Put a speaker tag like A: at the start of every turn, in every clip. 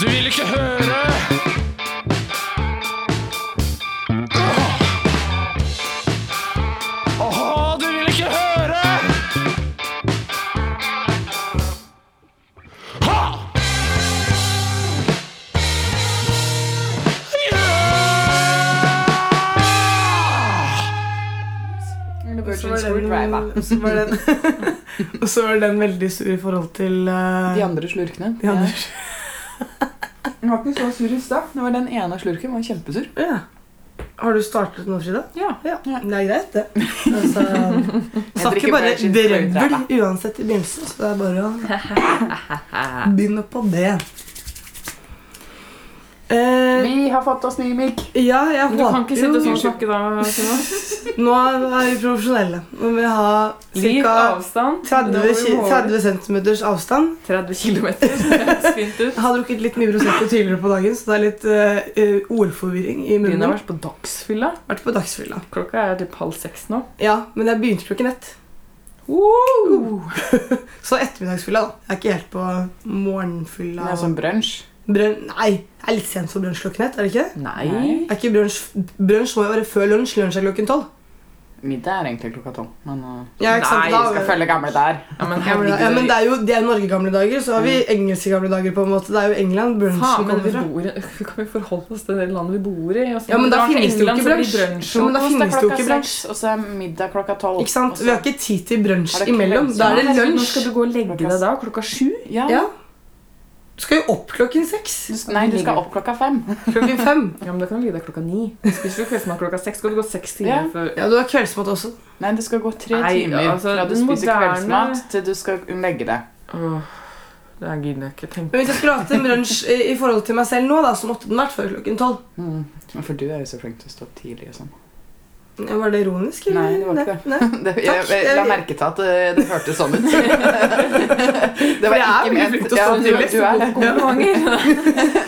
A: vil ikke høre. Åh, Åh, du vil ikke høre. Ha! Ja!
B: The
C: Og så
B: Virgin Screw
C: var
B: Driver.
C: den- så var den- Og så var den veldig sur i forhold til eh,
B: De andre slurkene.
C: de andre.
B: Den var ikke så sur i stad. Det var den ene slurken var kjempesur.
C: Ja. Har du startet nå, Frida?
B: Ja.
C: Ja.
B: Ja.
C: Det er greit, det. Altså, snakker
B: drikker
C: bare
B: Virgin Fruit,
C: drøvel
B: jeg,
C: uansett i begynnelsen, så det er bare å begynne på det. Eh,
B: Vi har fått oss ny mic.
C: ja, jeg
D: Du
C: håper
D: kan ikke sitte sånn og
C: jo
D: snakke da, Simon.
C: Nå er vi profesjonelle. Nå vil vi ha
D: Liv,
C: ca.
D: avstand.
C: 30,
D: Dobbel
C: ki-
D: mål.
C: 30 centimeters avstand.
D: 30 kilometer. Det høres fint ut.
C: Jeg har drukket litt mye prosentto tidligere på dagen, så det er litt eh, eh, ordforvirring i
D: Begynner
C: munnen.
D: å
C: Jeg
D: være på dagsfylla.
C: har vært på dagsfylla.
D: Klokka er typ halv seks nå.
C: Ja, men jeg begynte klokken ett.
D: Woo!
C: Så ettermiddagsfylla, da. Jeg er ikke helt på morgenfylla.
B: Det er sånn brunsj.
C: Brun nei, det er litt sent for brunsj klokken ett, er det ikke det?
B: Nei.
C: Er ikke brunsj, brunsj må jo være før lunsj. Lunsj er klokken tolv.
B: Middag er egentlig klokka tolv. Men uh,
C: Ja, ikke sant?
B: nei,
C: Da-
B: vi skal følge gamle der.
D: Ja, men
C: Ja, men
D: herregud.
C: ja, men det er jo det er Norge gamle dager, så har vi engelske gamle dager. på en måte. Det er jo England
D: Faen,
C: brunsjen
D: men
C: kommer
D: vi
C: fra.
D: bor i Kan vi forholde oss til det landet vi bor i? Altså,
C: Ja, men
D: når vi
C: da
D: drar til
C: finnes det jo
D: England,
C: ikke
D: så blir
C: brunsj.
D: brunsj.
C: Ja, men da
B: Frokost er
C: finnes det
B: klokka
C: jo ikke
B: seks,
C: brunsj.
B: Og så er middag klokka tolv.
C: Ikke sant?
B: og så-
C: Vi har ikke tid til
B: Er
C: brunsj
B: det
C: imellom.
B: kvelds-
C: Da er det
D: Herregud, Nå
C: lunsj.
D: skal du gå og legge deg da? Klokka sju?
B: Ja.
C: Ja. Du skal jo opp klokken seks.
B: Du skal, nei, du skal opp klokka fem.
C: Klokken fem.
D: Ja, men Da kan du legge deg klokka ni. Du Spiser du kveldsmat klokka seks, skal du gå seks timer
B: Ja.
D: før
C: Ja, du har kveldsmat også.
B: Nei, det skal gå tre
D: Nei,
B: timer
D: altså,
B: fra du
D: den
B: spiser
D: moderne-
B: kveldsmat til du skal legge deg.
D: Åh, Det her gidder jeg ikke tenke
C: Men hvis jeg skulle hatt en brunsj i i forhold til meg selv nå, da, så måtte den vært før klokken tolv.
B: Mm. For du er jo så flink til å stå opp tidlig og sånn.
C: Ja, Var det ironisk?
B: Nei, det var ikke
C: Nei.
B: Det, jeg, jeg, jeg la merke til at det, det hørtes sånn ut. Det
C: For jeg er veldig flink til å
B: ja,
C: stå
B: du,
C: tidlig.
B: du er det.
D: Komplimenter.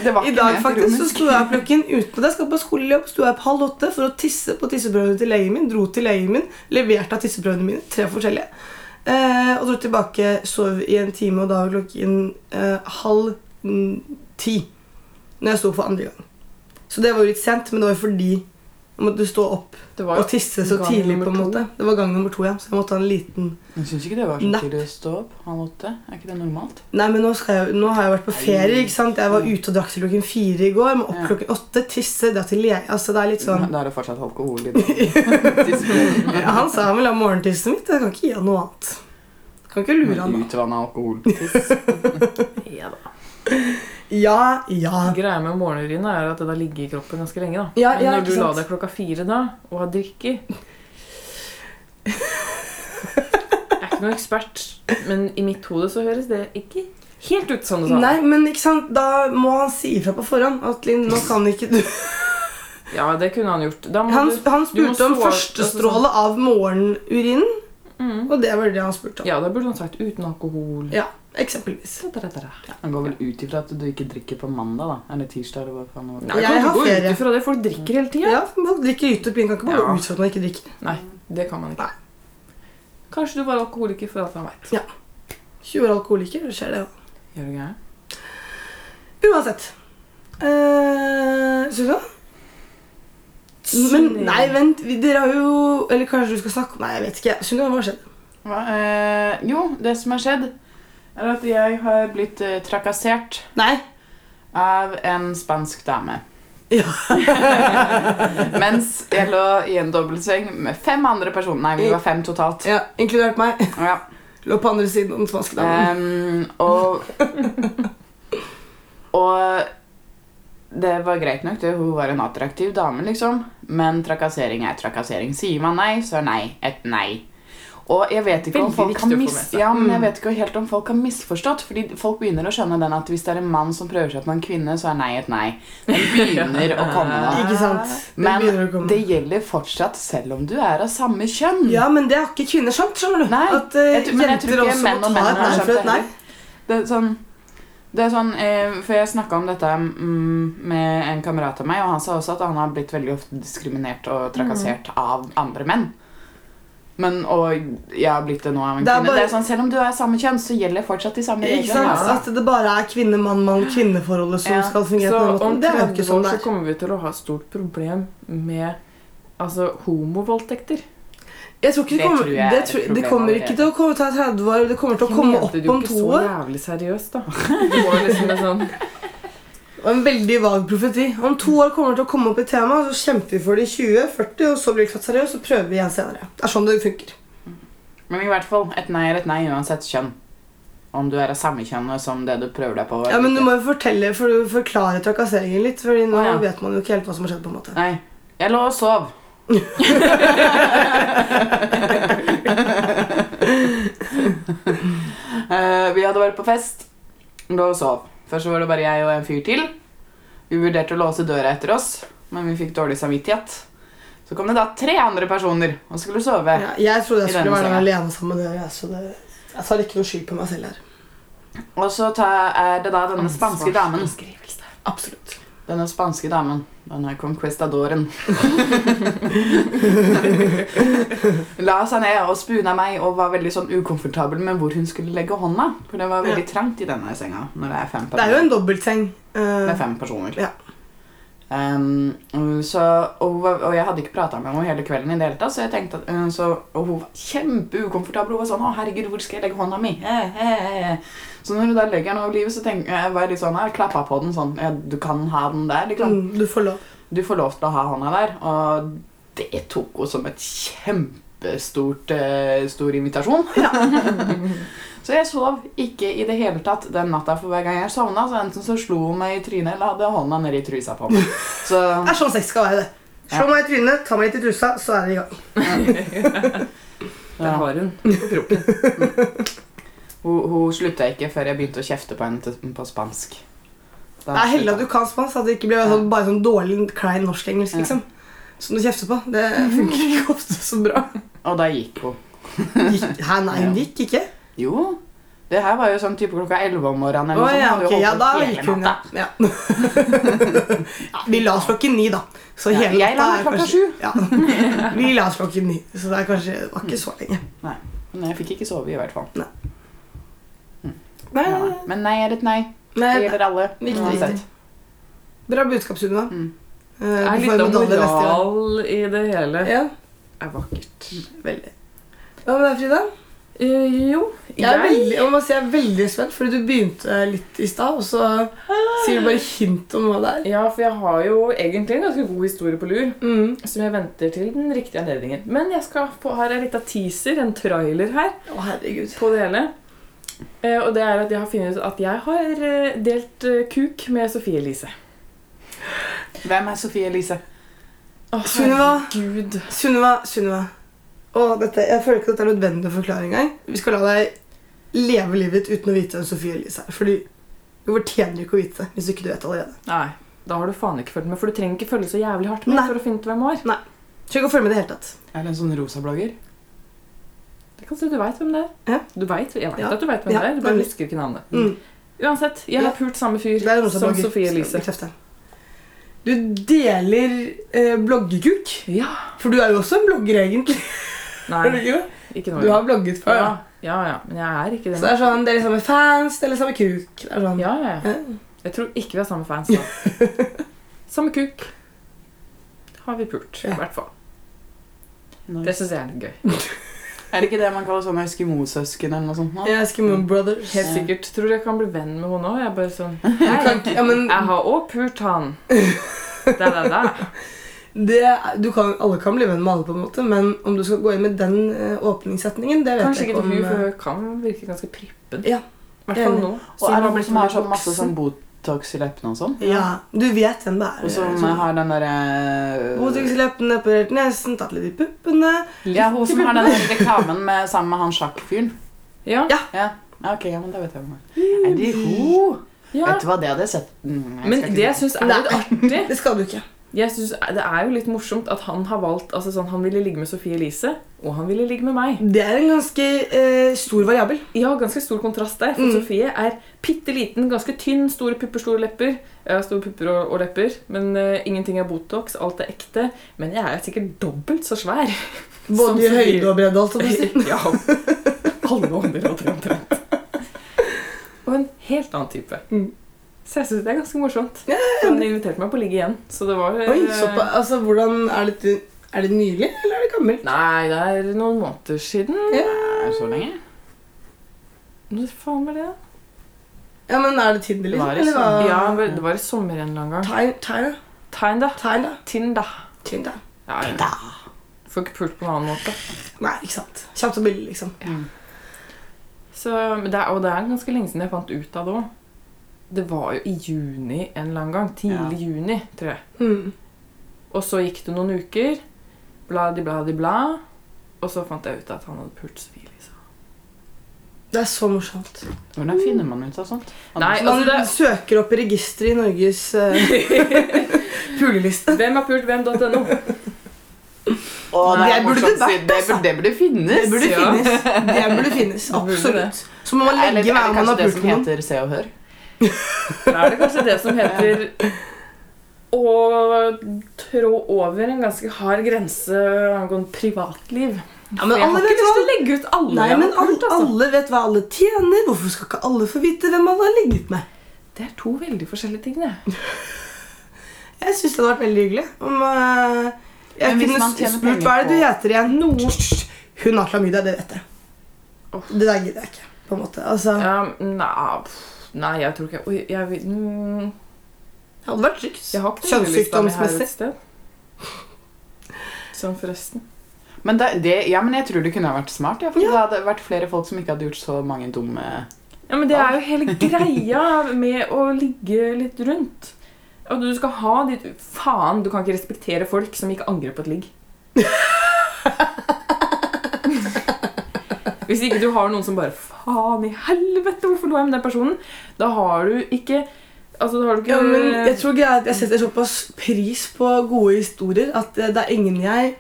B: Det var
C: I
B: ikke
C: dag
B: ment
C: faktisk så
B: ironisk.
C: sto jeg opp klokken utenpå det. Jeg skal på skolejobb. Sto jeg opp halv åtte for å tisse på tisseprøvene til legen min. Dro til legen min, leverte av tisseprøvene mine. Tre forskjellige. Eh, og dro tilbake, sov i en time, og da var klokken eh, halv mm, ti. Når jeg sto opp for andre gang. Så det var jo litt sent, men det var jo fordi jeg måtte stå opp
D: Det
C: og
D: var jo
C: tisse så
D: gang
C: tidlig.
D: nummer
C: på en
D: to.
C: måte. Det var gang nummer to, ja. Så jeg måtte ha en liten
B: Jeg syns ikke det var så
C: Nei.
B: tidlig å stå opp halv åtte. Er ikke det normalt?
C: Nei, men nå, skal jeg, nå har jeg vært på ferie. ikke sant? Jeg var ute og drakk til klokken fire i går. Må opp
B: Ja.
C: klokken åtte, tisse, dra til lege. Altså, det er litt sånn
B: Da er det fortsatt alkohol i det.
C: ja, Han sa han ville ha morgentissen mitt. Jeg kan ikke gi han noe annet. Jeg kan ikke lure han da.
B: Utvanna alkoholtiss.
D: Ja da.
C: Ja, ja.
D: Greia med morgenurina er at det da ligger i kroppen ganske lenge. da.
C: Ja, ja,
D: Men
C: ikke
D: når du la
C: sant.
D: deg klokka fire da, og har drikker Jeg er ikke noen ekspert, men i mitt hode så høres det ikke helt ut som det sa.
C: Nei, men ikke sant? da må han si ifra på forhånd. At Linn, nå kan ikke du
D: Ja, det kunne han gjort. Da må
C: Han,
D: du...
C: han
D: du må altså, sånn-
C: spurte om
D: sove-
C: førstestråle av morgenurinen,
D: Mm.
C: og det var det han spurte om.
D: Ja, da burde han sagt uten alkohol.
C: Ja, eksempelvis.
D: Da, da, da, da, da.
B: Han går vel ut ifra at du ikke drikker på mandag, da. Eller tirsdag, eller hva faen det var.
D: Nei,
C: Jeg
D: kan
C: har
D: du gå
C: ferie.
D: ut ifra det? Folk drikker hele tida.
C: Ja, Man drikker ut og pinn. Kan ikke bare
D: Ja.
C: ut for at man ikke drikker.
D: Nei, det kan man ikke.
C: Nei.
D: Kanskje du var alkoholiker for alt han veit.
C: 20 år alkoholiker, det skjer det jo.
D: Gjør du greia?
C: Uansett. Uh, Susanne? Men
D: Sunniva.
C: nei, vent. vi- Dere har jo Eller kanskje du skal snakke om Nei, jeg vet ikke. Sunniva, hva skjedde?
B: Hva? Eh, jo, det som har skjedd, er at jeg har blitt eh, trakassert
C: Nei.
B: av en spansk dame.
C: Ja.
B: Mens jeg lå i en dobbeltseng med fem andre personer. Nei, vi var fem totalt.
C: ja inkludert meg.
B: Ja.
C: Lå på andre siden av den spanske damen.
B: Ehm, og Og det var greit nok, det. Hun var en attraktiv dame, liksom. Men trakassering er trakassering. Sier man nei, så er nei et nei. Og jeg vet ikke, om
D: Veldig
B: folk, har
D: viktig å få
B: mis
D: med seg.
B: ja, men jeg vet ikke helt om folk har misforstått. Fordi folk begynner å skjønne den at hvis det er en mann som prøver seg på en kvinne, så er nei et nei. Den begynner å komme. nå.
C: Ikke sant? Det begynner å
B: Men
C: komme.
B: det gjelder fortsatt selv om du er av samme kjønn.
C: Ja, men det har ikke kvinner skjønt, skjønner du.
B: Nei,
C: At eh,
B: jeg tror- men jeg tror
C: jenter
B: ikke
C: også
B: menn og
C: må ta
B: menn
C: et
B: har
C: nei
B: skjønt
C: for et
B: det
C: nei.
B: Det er sånn, det er sånn eh, For jeg snakka om dette mm, med en kamerat av meg,
C: Mm.
B: og han sa også at han har blitt veldig ofte diskriminert og trakassert av andre menn. Men, og jeg har blitt det nå av en
C: Det er
B: kvinne.
C: bare-
B: Det er sånn, selv om du er samme kjønn, så gjelder fortsatt de samme
C: Ikke
B: reglene.
C: sant?
B: altså.
C: At det bare er kvinne-mann-mann-kvinneforholdet som
B: Ja.
C: skal fungere
D: Så
C: på den
D: om
C: måten. Det er jo ikke
D: 30
C: sånn
D: år
C: det
D: så
C: er.
D: kommer vi til å ha stort problem med altså, homovoldtekter.
C: Jeg tror ikke det,
B: Det
C: kommer,
B: tror jeg er
C: det,
B: et
C: tror, det
B: problem
C: kommer ikke til å komme til å ta 30 år. Det kommer til å komme
D: Mente
C: opp om
D: du
C: to
D: ikke så
C: år.
D: jævlig seriøst, da? Det var liksom en sånn
C: Og en veldig vag profeti. Om to år kommer det til å komme opp et tema, så kjemper vi for det i 20-40, og så blir det ikke tatt seriøst, så prøver vi igjen senere. Det er sånn det funker.
B: Men i hvert fall, et nei er et nei uansett kjønn. Om du er av samme kjønn som det du prøver deg på.
C: Ja, men du må jo fortelle, for du forklare trakasseringen litt, Fordi nå
B: Å, ja.
C: vet man jo ikke helt hva som har skjedd, på en måte.
B: Nei. Jeg lå og sov. Eh, vi hadde vært på fest. Lå og sov. Først så var det bare jeg og en fyr til. Vi vurderte å låse døra etter oss, men vi fikk dårlig samvittighet. Så kom det da tre andre personer og skulle sove.
C: Ja, jeg trodde jeg
B: I
C: skulle
B: denne
C: være
B: senga.
C: alene sammen med dere, jeg, så det, jeg tar ikke noe skyld på meg selv her.
B: Og så ta, er det da denne spanske damen.
C: Absolutt.
B: Denne spanske damen. Denne conquistadoren. La seg ned og spuna meg og var veldig sånn ukomfortabel med hvor hun skulle legge hånda. For det var veldig trangt i denne senga når det er fem
C: Det er jo
B: personer.
C: en dobbeltseng.
B: Det er
C: Uh,
B: fem personer.
C: Ja.
B: Um, så, og, hun var, og jeg hadde ikke prata med henne hele kvelden, i det hele tatt, så jeg tenkte at, uh, så, og hun var kjempeukomfortabel. Hun var sånn 'Å, herregud, hvor skal jeg legge hånda mi?' Eh, eh, eh, eh. Så når hun da legger den over livet, så tenk, jeg var jeg litt sånn, jeg klappa på den sånn ja, 'Du kan ha den der', liksom.
C: mm, du får lov.
B: Du får lov til å ha hånda der, og det tok hun som et kjempestort eh, stor invitasjon. så jeg sov ikke i det hele tatt den natta, for hver gang jeg sovna, så enten så slo hun meg i trynet, eller hadde hånda nedi trusa på meg. Så,
C: Det er sånn sex skal være, det. Slå
B: Ja.
C: meg i trynet, ta meg litt i trusa, så er det i gang.
D: Der
B: ja.
D: har hun.
B: Hun, hun slutta ikke før jeg begynte å kjefte på henne til- på spansk. Da
C: Det er heldig at
B: slutta
C: du kan spansk, at det ikke blir sånn, bare sånn dårlig, klein norsk-engelsk,
B: Ja.
C: liksom. Som du kjefter på. Det funker ikke ofte så bra.
B: hun. Og da gikk hun.
C: Gikk- Hæ, nei, hun
B: Ja.
C: gikk ikke?
B: Jo. Det her var jo sånn type klokka 11 om morgenen.
C: Å
B: eller noe sånt.
C: ja,
B: Hun hadde
C: ok.
B: jo
C: Ja,
B: holdt
C: da
B: på hele
C: gikk hun,
B: natta.
C: ja. ja. Ja, Vi la oss klokken ni, da. Så
B: Ja,
C: hele
B: jeg la
C: natta
B: meg klokka
C: er kanskje-
B: sju.
C: Ja. Vi la oss klokken ni, så det er kanskje, det var ikke så lenge.
B: Men jeg fikk ikke sove, i hvert fall.
C: Nei,
B: Ja.
C: nei,
B: Men nei er et nei.
C: nei.
B: Det gjelder alle.
C: Viktig,
B: uansett.
C: viktig. Bra budskap, Sunniva.
B: Mm.
C: Eh,
D: Det er
C: Du får
D: litt
C: en
D: av
C: medalje neste gang.
D: moral i det hele.
C: Ja,
D: Det er vakkert.
C: veldig. Hva med deg, Frida?
D: Eh, jo,
C: Jeg er, veldig, jeg, må si, jeg er veldig spent, fordi du begynte litt i stad, og så sier du bare hint om hva det er.
D: Ja, for jeg har jo egentlig en ganske god historie på lur.
C: Mm.
D: Som jeg venter til den riktige anledningen. Men jeg skal få, har en liten teaser, en trailer her,
C: Å, herregud.
D: på det hele. Eh, og det er at jeg har funnet ut at jeg har eh, delt eh, kuk med Sofie Elise.
B: Hvem er Sofie Elise?
D: Å,
C: Sunniva.
D: herregud.
C: Sunniva, Sunniva. Å, dette, jeg føler ikke at det er nødvendig å forklare engang. Vi skal la deg leve livet ditt uten å vite hvem Sofie Elise er. Fordi du fortjener ikke å vite det hvis du ikke vet det allerede.
D: Nei, da har du faen ikke fulgt med, for du trenger ikke følge så jævlig hardt med
C: Nei.
D: for å finne ut hvem hun er.
C: Trenger ikke å følge med i det hele tatt.
B: Er det en sånn rosa blogger?
D: Det kan si Du vet hvem det er.
C: Ja.
D: Du vet, jeg vet
C: Ja.
D: at du vet hvem
C: Ja,
D: det er, du bare
C: nemlig.
D: husker ikke navnet.
C: Mm.
D: Uansett, jeg
C: Ja.
D: har pult samme fyr
C: Det er en rosa
D: som
C: blogger.
D: Sofie Elise.
C: Bekrefter. Du deler eh, bloggekuk,
D: Ja.
C: for du er jo også en blogger, egentlig. Er du
D: Nei,
C: ikke det?
D: ikke
C: Du
D: noe.
C: har blogget før.
D: Ja,
C: da.
D: ja, ja. Men jeg er ikke det.
C: Så det er sånn, Dere er samme fans, dere er samme kuk. Det er sånn.
D: Ja, ja, ja. Jeg tror ikke vi har samme fans, da. samme kuk har vi pult, i
C: Ja.
D: hvert fall.
B: Nei.
D: Det syns jeg er litt gøy.
B: Er det ikke det man kaller sånne Eskimo-søsken eller noe sånt? nå?
C: Jeg er Eskimo Brothers.
D: Helt sikkert. Tror jeg kan bli venn med henne òg. Jeg bare sånn
C: Du kan, ikke- ja, men
D: Jeg har òg pult han. Da, da, da.
C: det, er- du kan, alle kan bli venn med alle, på en måte, men om du skal gå inn med den eh, åpningssetningen det vet
D: Kanskje
C: jeg
D: ikke til hun,
C: om,
D: for
C: eh,
D: hun kan virke ganske prippen.
C: Ja.
D: I hvert fall nå.
B: Og
D: siden
B: er det
D: hun
B: noen
D: blitt
B: som har sånn
D: voksen.
B: masse sånn Botox i leppene og sånn?
C: Ja, Du vet hvem det er.
B: Og som
C: eh,
B: har den eh,
C: Botox i
B: derre
C: leppene, operert nesen, tatt litt i puppene.
B: Ja, hun som har den der reklamen med, sammen med han sjakkfyren.
D: Ja.
C: Ja.
B: sånn- Ja. ja, ok, ja, men da vet jeg hvem det er. Er det hun?
D: ja.
B: Vet du hva, det hadde jeg sett. Mm, jeg
D: Men
B: skal ikke
D: det jeg
B: si.
D: syns er litt artig
C: Det skal du ikke.
D: Jeg synes, Det er jo litt morsomt at han har valgt altså sånn, Han ville ligge med Sophie Elise, og han ville ligge med meg.
C: Det er en ganske eh, stor variabel.
D: Ja, ganske stor kontrast der. For
C: Mm.
D: Sofie er bitte liten, ganske tynn, store pupper, store lepper. Jeg har store pupper og, og lepper, men eh, ingenting er Botox. Alt er ekte. Men jeg er sikkert dobbelt så svær. som
C: Både i
D: Sofie.
C: høyde og bredde. Altså, for å si.
D: ja. Alle områder omtrent. Og en helt annen type.
C: Mm.
D: Så jeg syns det er ganske morsomt. Han inviterte meg på å ligge igjen, så det var eh,
C: Oi, såpass. Altså, hvordan er det, er det nylig, eller er det gammelt?
D: Nei, det er noen måneder siden.
B: Er det så lenge?
D: Når faen var det?
C: Ja, men er det Tinder, liksom?
B: Var det
C: Eller hva?
D: Ja, det var i sommer en eller annen gang.
C: Ti- Tinder?
D: Tinda.
C: Tinder?
D: Tinda.
C: Tinder?
D: Ja, ja. Får ikke pult på en annen måte.
C: Nei, ikke sant. Kjapt og billig, liksom.
D: Så, men det er, og det er ganske lenge siden jeg fant ut av det òg. Det var jo i juni en eller annen gang. Tidlig juni, tror jeg.
C: Mm.
D: Og så gikk det noen uker. Bladi-bladi-bla. Og så fant jeg ut at han hadde pult liksom. Sofie Elise.
C: Det er så morsomt.
B: Hvordan finner man ut av sånt?
D: Nei,
C: Man
D: altså det,
C: søker opp i registeret i Norges eh, puleliste.
D: Hvem har pult hvem.no?
B: Åh, det,
C: Det
B: er
C: burde
B: morsomt,
C: det vært,
B: siden det, burde, det burde finnes.
C: Det burde
D: Ja.
C: finnes. Det burde finnes,
D: burde
C: Absolutt. Så må man
B: Eller,
C: legge
B: eller
C: hver man
B: kanskje
C: har
B: det
C: pult
B: som
C: med noen.
B: heter Se og Hør.
D: Da er det kanskje det som heter å trå over en ganske hard grense angående privatliv.
C: Ja, men
D: For jeg
C: alle
D: har ikke
C: vet
D: lyst
C: hva-
D: til å legge ut alle. altså.
C: Nei,
D: jeg
C: men altså.
D: har pult,
C: alle, alle vet hva alle tjener. Hvorfor skal ikke alle få vite hvem alle har ligget med?
D: Det er to veldig forskjellige ting, det.
C: Jeg syns det hadde vært veldig hyggelig om eh, jeg
B: Men hvis
C: kunne
B: man tjener
C: spurt
B: penger
C: hva er det du
B: på-
C: heter igjen. Noe. Hun har klamydia, det vet jeg.
D: Åh.
C: Det der gidder jeg ikke. på en måte. Altså,
D: Ja, nei, pff, nei, jeg tror ikke Oi, jeg, vil- mm,
C: Det hadde vært trygt.
D: jeg har ikke den lista mi her et
C: Kjønnssykdomsmessig.
D: sted. Sånn forresten.
B: Men, det, det, ja, men jeg tror det kunne ha vært smart. Ja, for Det hadde vært flere folk som ikke hadde gjort så mange dumme
D: Ja, men det er jo hele greia med å ligge litt rundt. Og du skal ha ditt Faen, du kan ikke respektere folk som ikke angrer på et ligg. Hvis ikke du har noen som bare Faen i helvete, hvorfor lå jeg med den personen? Da har du ikke Altså, da har du ikke
C: Ja, men jeg tror greia er at jeg setter såpass pris på gode historier at eh, det er ingen jeg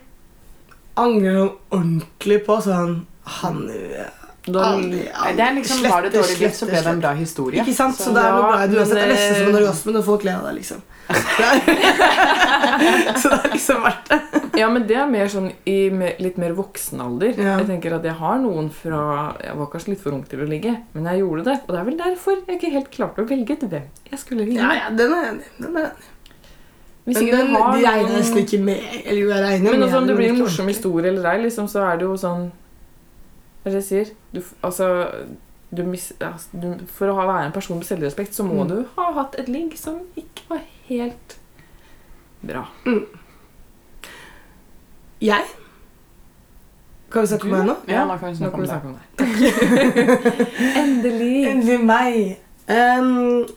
C: angrer sånn ordentlig på. Sånn Han eh,
D: da,
C: aldri,
B: Nei, Det er liksom, Var det dårlig liv, så ble det en bra historie.
C: Ikke sant? Så
B: Så-
C: det er noe
D: Ja,
C: bra i det uansett. Det er
D: men,
C: nesten som en
D: eh,
C: orgasme når folk ler av deg, liksom. Det er- så det er liksom verdt det.
D: Ja, men det er mer sånn i me- litt mer voksen alder.
C: Ja.
D: Jeg tenker at jeg har noen fra Jeg var kanskje litt for ung til å ligge, men jeg gjorde det. Og det er vel derfor jeg ikke helt klarte å velge ut hvem jeg skulle ligge
C: Ja,
D: med.
C: ja, den er jeg enig i. den er jeg enig i.
D: Hvis
C: Men
D: ikke
C: den
D: du har
C: regner jeg nesten
D: noen
C: ikke med. Eller jo, jeg regner
D: Men
C: med
D: også om
C: den,
D: det blir en
C: ikke
D: morsom
C: ordentlig.
D: historie eller ei, liksom, så er det jo sånn Hva er det jeg sier? Du, f- altså du mis, altså, du, For å ha, være en person med selvrespekt, så må
C: Mm.
D: du ha hatt et ligg som ikke var helt bra.
C: Jeg? Kan vi snakke om
D: Du?
C: meg nå?
B: Ja, nå kan vi
D: Nå
B: snakke om
D: kan vi
B: det.
D: snakke om det. Endelig.
C: Endelig meg. Em,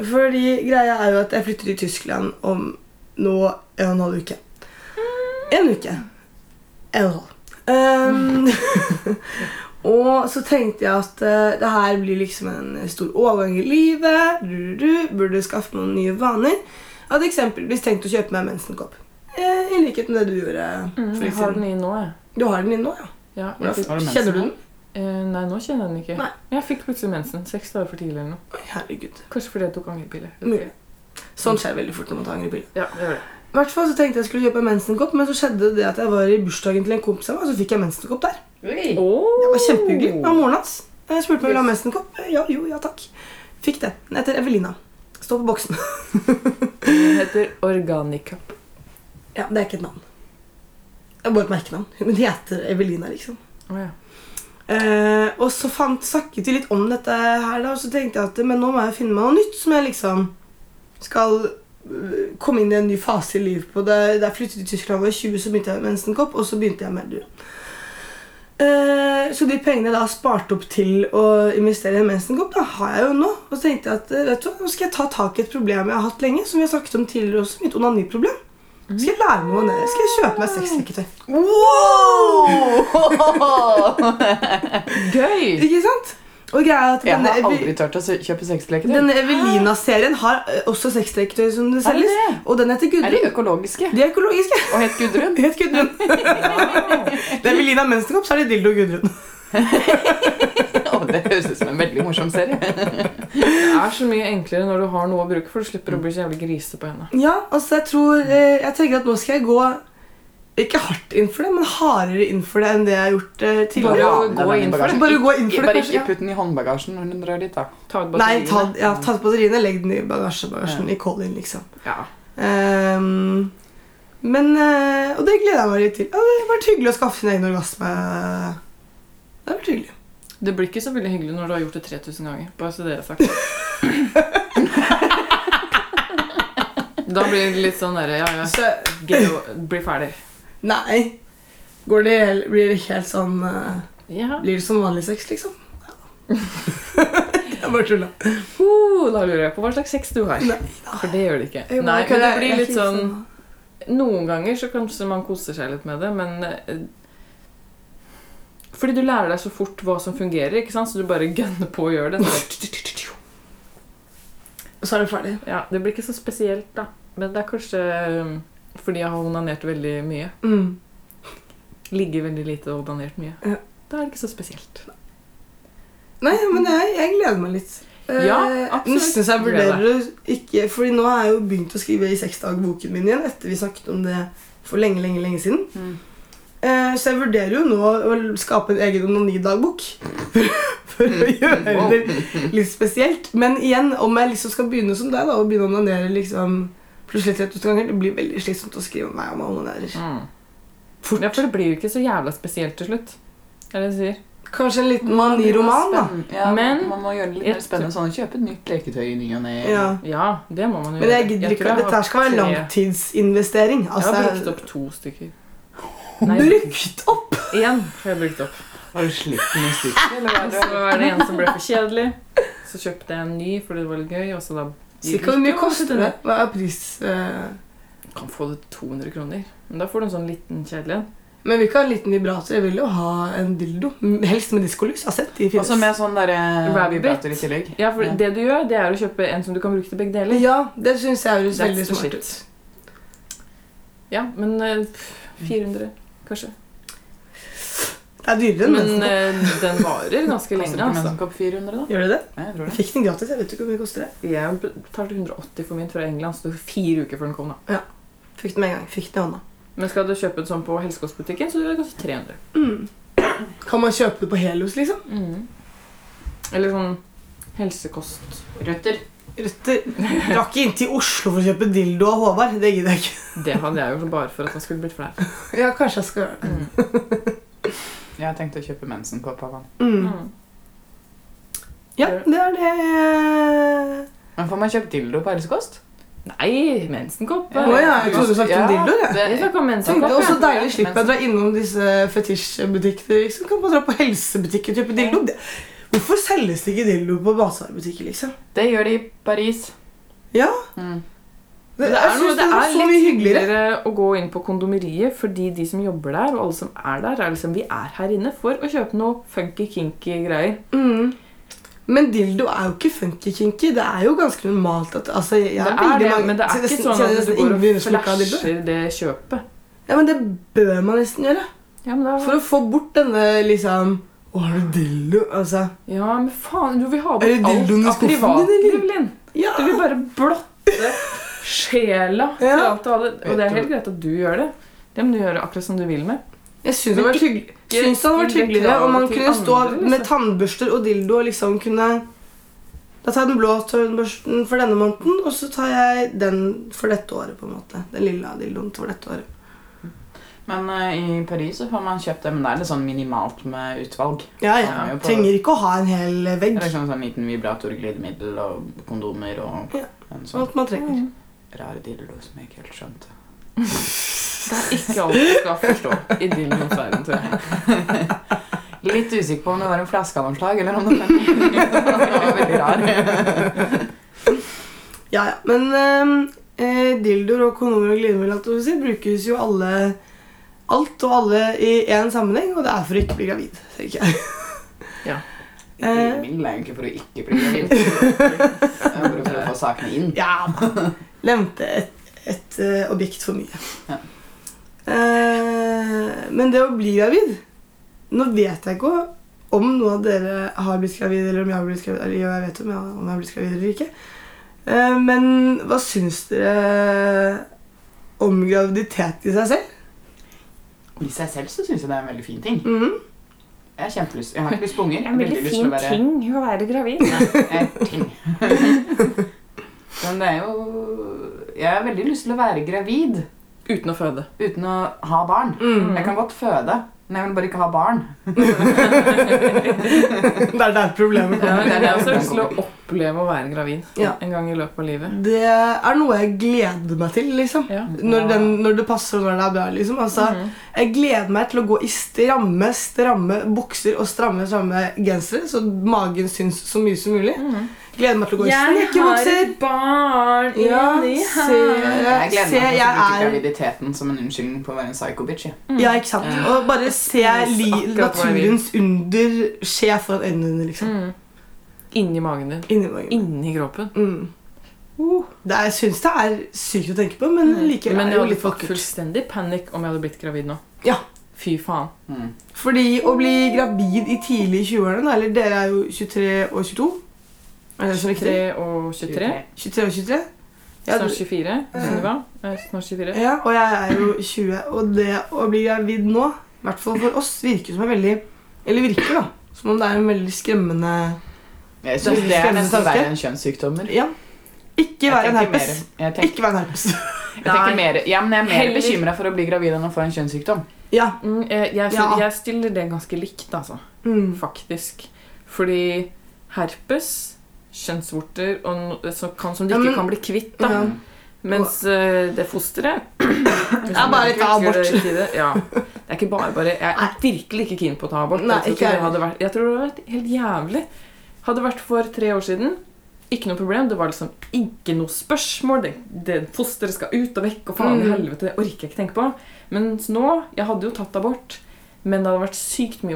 C: fordi greia er jo at jeg flytter til Tyskland om nå en og en halv uke. En uke. En og en halv. Em, og så tenkte jeg at eh, det her blir liksom en stor overgang i livet. Du, du, du, burde skaffe meg noen nye vaner. Jeg hadde eksempelvis tenkt å kjøpe meg en mensenkopp. Eh, I likhet med det du gjorde.
D: Mm,
C: for
D: jeg
C: litt
D: har
C: siden.
D: den i nå, jeg.
C: Du har den inne nå, ja?
D: Ja, jeg
C: Hvordan-
D: fikk,
B: Har du mensen
C: Kjenner du
B: nå?
C: den?
D: eh, nei, nå kjenner jeg den ikke.
C: Nei.
D: Men Jeg fikk plutselig mensen seks dager for tidlig. eller noe.
C: Oi, herregud.
D: Kanskje fordi jeg tok angrepiller.
C: Mulig. Sånt skjer veldig fort når man tar angrepiller.
D: Ja, det gjør det.
C: I hvert fall så tenkte jeg skulle kjøpe en mensenkopp, men så skjedde det at jeg var i bursdagen til en kompis av meg, og så fikk jeg mensenkopp der.
B: Oi.
D: Oh!
C: Det var kjempehyggelig. Det var moren hans. Jeg spurte meg om jeg ville ha mensenkopp. Ja, jo, ja takk. Fikk det. Den heter Evelina. Står på boksen.
D: Den heter Organicup.
C: Ja, det er ikke et navn. Det er bare et merkenavn. Men de heter Evelina, liksom.
D: Å ja.
C: Eh, og så fant, snakket vi litt om dette her, da, og så tenkte jeg at men nå må jeg finne meg noe nytt som jeg liksom skal øh, komme inn i en ny fase i livet på. Da da jeg flyttet til Tyskland da jeg var 20, så begynte jeg med mensenkopp, og så begynte jeg med Eldura. Eh, så de pengene jeg da sparte opp til å investere i en mensenkopp, da har jeg jo nå. Og så tenkte jeg at eh, vet du, hva, nå skal jeg ta tak i et problem jeg har hatt lenge, som vi har snakket om tidligere også, mitt onaniproblem. Så Skal jeg lære meg å onanere? Skal jeg kjøpe meg sexleketøy?
B: Wow! Gøy!
C: Ikke sant? Og greia er at
B: Mm. Jeg
C: denne,
B: har aldri
C: Eve-
B: turt å se- kjøpe sexleketøy.
C: denne Evelina-serien har eh, også sexleketøy som det
B: Er det
C: selges.
B: det?
C: Og den
B: Er
C: heter
B: de
C: Gudrun.
B: økologiske?
C: De er økologiske.
B: Og het Gudrun?
C: De heter Gudrun. Det er Evelina Menstrup, så er det Dildo Gudrun.
B: Å, det høres ut som en veldig morsom serie.
D: Det er så mye enklere når du har noe å bruke, for du slipper å bli så jævlig grisete på henne.
C: Ja, altså jeg tror eh, Jeg tenker at nå skal jeg gå ikke hardt inn for det, men hardere inn for det enn det jeg har gjort eh,
D: Bare
C: tidligere.
D: å
B: Lade
D: gå
B: den i
D: inn for
B: bagasjen.
D: det.
C: Bare gå inn for det,
B: Bare
C: kanskje.
B: ikke putt den i håndbagasjen når hun drar dit, da.
D: Ta ut
C: Nei, ta,
D: batteriene.
C: ja, ta ut batteriene, legg den i bagasjebagasjen. I Colin, liksom.
D: Ja.
C: Ehm, men eh, Og det gleder jeg meg litt til. Ja, det har vært hyggelig å skaffe sin egen orgasme. Det har vært hyggelig.
D: Det blir ikke så veldig hyggelig når du har gjort det 3000 ganger. Bare så det er sagt. da blir det litt sånn derre Ja, ja.
C: Så
D: Get o- Bli ferdig.
C: Nei. Går det, blir det helt sånn eh,
D: Ja.
C: Blir det som vanlig sex, liksom? Jeg bare tulla.
D: Uh, da lurer jeg på hva slags sex du har.
C: Nei.
D: For det gjør det ikke.
C: Jeg må
D: Nei,
C: ikke-
D: men det
C: jeg- jeg
D: blir
C: er
D: litt
C: ikke
D: sånn Noen ganger så kanskje man koser seg litt med det, men eh, Fordi du lærer deg så fort hva som fungerer, ikke sant? så du bare gønner på å gjøre det. Så-
C: Så er det ferdig.
D: Ja, Det blir ikke så spesielt, da. Men det er kanskje eh, fordi jeg har onanert veldig mye.
C: Mm.
D: Ligget veldig lite og onanert mye.
C: Ja.
D: Da er det ikke så spesielt.
C: Nei, men jeg, jeg gleder meg litt. Eh,
D: Ja, absolutt.
C: Nesten så jeg
D: Gleder
C: vurderer å ikke Fordi nå har jeg jo begynt å skrive i seksdagboken min igjen etter vi snakket om det for lenge, lenge, lenge siden.
B: Mm.
C: Eh, så jeg vurderer jo nå å skape en egen onanidagbok. For, for
D: Mm.
C: å gjøre det litt spesielt. Men igjen, om jeg liksom skal begynne som deg da, og begynne å onanere liksom plutselig 3000 ganger, det blir veldig slitsomt å skrive om meg om jeg onanerer.
D: Mm. Ja, for det blir jo ikke så jævla spesielt til slutt. Er det jeg sier?
C: Kanskje en liten maniroman, Sånn da.
B: Spenn- Ja,
D: Men-
B: man må gjøre det litt mer spennende sånn. Kjøpe et nytt leketøy i ny og ne.
C: Ja.
D: Ja, det må man jo
C: Men jeg
D: gjøre.
C: gidder
D: tror
C: ikke.
D: jeg
C: Dette
D: har
C: her skal være en
D: tre-
C: langtidsinvestering. Altså,
D: Jeg har brukt opp to stykker.
C: Brukt opp!
D: Én har jeg brukt opp.
B: Har du slitt den i stykker, eller hva er
D: Så
B: det?
D: var det en som ble for kjedelig. Så kjøpte jeg en ny fordi det var litt gøy. Og så da
C: Cirka hvor mye koster det? Hva er pris? eh,
D: Kan få det 200 kroner. Men da får du en sånn liten kjedelig en.
C: Men vi kan ha en liten vibrator. Jeg vil jo ha en dildo. Mm, Helst med diskolys. Jeg har sett de
B: Og så
C: finnes.
B: med sånn derre
D: Rabbit.
B: vibrator i tillegg.
D: Ja, for
B: Ja.
D: det du gjør, det er å kjøpe en som du kan bruke til begge deler.
C: Ja, det syns jeg høres
D: That's
C: veldig
D: the
C: smart
D: shit.
C: ut.
D: Ja, men eh, pff, 400, kanskje.
C: Det er dyrere enn
D: Men
C: mensen.
D: eh, den varer ganske
B: Koster
D: lenge,
B: ikke
D: altså.
B: mensenkopp 400, da?
C: Gjør det det?
B: Nei, jeg tror
C: Jeg
B: det.
C: fikk den gratis. Jeg vet ikke hvor mye koster det.
D: Jeg betalte 180 for min fra England, så det tok fire uker før den kom. da.
C: Fikk den med en gang. Fikk den i hånda.
D: Men skal du kjøpe den sånn på helsekostbutikken, så er det kanskje 300.
C: Kan man kjøpe det på Helos, liksom?
D: Mm. Eller sånn helsekost.
B: Røtter.
C: Røtter. Drar ikke inn til Oslo for å kjøpe dildo av Håvard. Det gidder jeg ikke.
D: Det hadde jeg gjort bare for at han skulle blitt flau.
C: Ja, kanskje jeg skal gjøre det.
B: Jeg har tenkt å kjøpe mensenkopp av han.
C: Mm.
D: Mm.
C: Ja, det er det.
B: Men får man kjøpt dildo på helsekost?
D: Nei, mensenkopp.
C: Å ja, jeg trodde du snakket om
B: Ja,
C: dildoer, jeg.
D: Jeg
B: det-
D: snakker om
C: Jeg tenkte
D: mensenkopp.
C: også
D: jeg.
C: deilig slipper jeg å dra innom disse fetisjbutikkene. Liksom. Kan bare dra på helsebutikker og kjøpe dildo. Det- Hvorfor selges det ikke dildo på basevarebutikker, liksom?
B: Det gjør de i Paris.
C: Ja,
B: Mm.
C: det,
D: Det
C: jeg
D: er, noe,
C: synes
D: det
C: det er
D: er
C: så
D: litt
C: mye hyggeligere.
D: hyggeligere å gå inn på kondomeriet fordi de som jobber der, og alle som er der, er liksom Vi er her inne for å kjøpe noe funky, kinky greier.
C: Mm. Men dildo er jo ikke funky-kinky. Det er jo ganske normalt at altså, jeg,
D: Det
C: jeg,
D: er det,
C: mange-
D: men det er
C: kjenner
D: ikke
C: nesten-
D: sånn
C: kjenner
D: at du
C: nesten
D: går
C: ingen
D: og
C: som ikke har dildo.
D: flasher det kjøpet.
C: Ja, men det bør man nesten gjøre.
D: Ja, men da
C: For å få bort denne liksom Å, har du dildo? Altså
D: Ja, men faen, du vil ha
C: Er det
D: bort alt
C: dildoen i
D: av
C: skuffen din,
D: privatliv,
C: eller?
D: Linn.
C: Ja!
D: Du vil bare blotte sjela til
C: Ja.
D: alt og alle. Og det er helt greit at du gjør det. Det må du gjøre akkurat som du vil med.
C: Jeg syns det hadde vært hyggelig-
D: ikke
C: syns det hadde vært
D: stille
C: hyggeligere
D: krav
C: om man
D: til
C: kunne stå
D: andre, liksom.
C: med tannbørster og dildo og liksom kunne Da tar jeg den blå tannbørsten for denne måneden, og så tar jeg den for dette året. på en måte Den lilla dildoen for dette året.
B: Men eh, i Paris så får man kjøpt det, men det er litt sånn minimalt med utvalg.
C: Ja, ja.
B: Ja, på-
C: Trenger ikke å ha en hel
B: Det
C: vegg.
B: er liksom sånn liten vibrator, glidemiddel og kondomer og
C: Ja.
B: en sånn
C: Alt man trenger.
D: Mm.
B: rar dildo som jeg ikke helt skjønte.
D: Det er ikke alt du skal forstå i dildoens verden, tror jeg.
B: Litt usikker på om det var en flaskeanslag eller om det var en veldig rar.
C: Ja, ja. Men ehm, eh, dildoer og kondomer og glidemiddel alt det du sier, brukes jo alle Alt og alle i én sammenheng, og det er for å ikke bli gravid. tenker jeg.
D: Ja.
C: Eh.
B: Ideen min er jo ikke for å ikke bli gravid. Det er Bare for å få sakene inn.
C: Ja da. Nevnte et, et eh, objekt for mye.
B: Ja.
C: Eh, men det å bli gravid Nå vet jeg ikke om noen av dere har blitt gravid, eller om jeg har blitt gravid, eller jo, jeg vet om jeg, om jeg har blitt gravid eller ikke. Eh, men hva syns dere om graviditet i seg selv?
B: Og I seg selv så syns jeg det er en veldig fin ting.
C: Mhm.
B: Jeg, har kjempelyst, jeg har ikke lyst på unger.
D: Det
B: Jeg
D: er en
B: har
D: veldig
B: veldig lyst til
D: fin
B: å være
D: ting å være gravid.
B: Eh, ting. Men det er jo Jeg har veldig lyst til å være gravid
D: Uten å føde.
B: uten å ha barn.
C: Mm.
B: Jeg kan godt føde, men jeg vil bare ikke ha barn.
C: Det er der problemet
D: Ja,
C: kommer.
D: jeg har også lyst til å oppleve å være gravid
C: Ja.
D: en gang i løpet av livet. Mm.
C: Det er noe jeg gleder meg til, liksom.
D: Ja.
C: Når, den, når det passer og når det er bra. liksom. Altså, Jeg gleder meg til å gå i stramme stramme bukser og stramme stramme gensere, så magen syns så mye som mulig.
D: Mm.
C: Gleder meg til å gå i snekkerbukser.
D: barn
C: Ja, se,
B: Jeg gleder
C: se,
B: meg til å
C: jeg
B: bruke
C: er
B: graviditeten som en unnskyldning på å være en psycho-bitch. jeg.
C: Ja, ikke sant. Og bare se li,
D: akkurat hva jeg vil.
C: naturens under skje foran øynene dine, liksom.
D: Mm. Inni magen din.
C: Inni magen.
D: Inni kroppen.
C: Mm. Det er, jeg syns det er sykt å tenke på, men likevel
D: Mm. Men
C: er
D: jeg
C: det jo
D: hadde
C: litt
D: fått
C: vakkert.
D: fullstendig panikk om jeg hadde blitt gravid nå.
C: Ja.
D: Fy faen.
B: Mm.
C: Fordi å bli gravid i tidlig i 20-årene, da, eller dere er jo 23 og 22 Er det sånn riktig?
D: 3 og 23.
C: 23 og 23? Ja,
D: Snart
C: du-
D: 24. Sunniva. Eh, Snart 24.
C: ja, og jeg er jo 20. Og det å bli gravid nå, i hvert fall for oss, virker som en veldig Eller virker, da. Som om det er en veldig skremmende
B: Jeg syns det er nesten verre enn kjønnssykdommer.
C: Ja. Ikke
B: Jeg
C: vær en
B: tenker mer,
C: herpes.
B: jeg tenker,
C: Ikke vær en herpes.
B: jeg tenker
D: Nei.
B: mer, ja, men jeg er mer
D: Heller-
B: bekymra for å bli gravid enn å få en kjønnssykdom.
C: Ja.
D: Mm, eh, jeg,
C: Ja.
D: jeg stiller det ganske likt, altså.
C: Mm.
D: faktisk. Fordi herpes, kjønnsvorter og no- som kan, som du
C: Ja,
D: ikke
C: men-
D: kan bli kvitt, da.
C: Ja.
D: Mens eh, det fosteret Det
C: er bare å ta abort.
D: Ja. Det er ikke bare bare. Jeg er virkelig ikke keen på å ta abort.
C: Nei,
D: jeg, tror
C: ikke jeg
D: ikke det hadde vært, jeg tror det hadde vært helt jævlig. Hadde det vært for tre år siden ikke noe problem. Det var liksom ikke noe spørsmål. Det, det Fosteret skal ut og vekk, og faen i
C: Mm.
D: helvete. Det orker jeg ikke tenke på. Mens nå Jeg hadde jo tatt abort, men det hadde vært sykt mye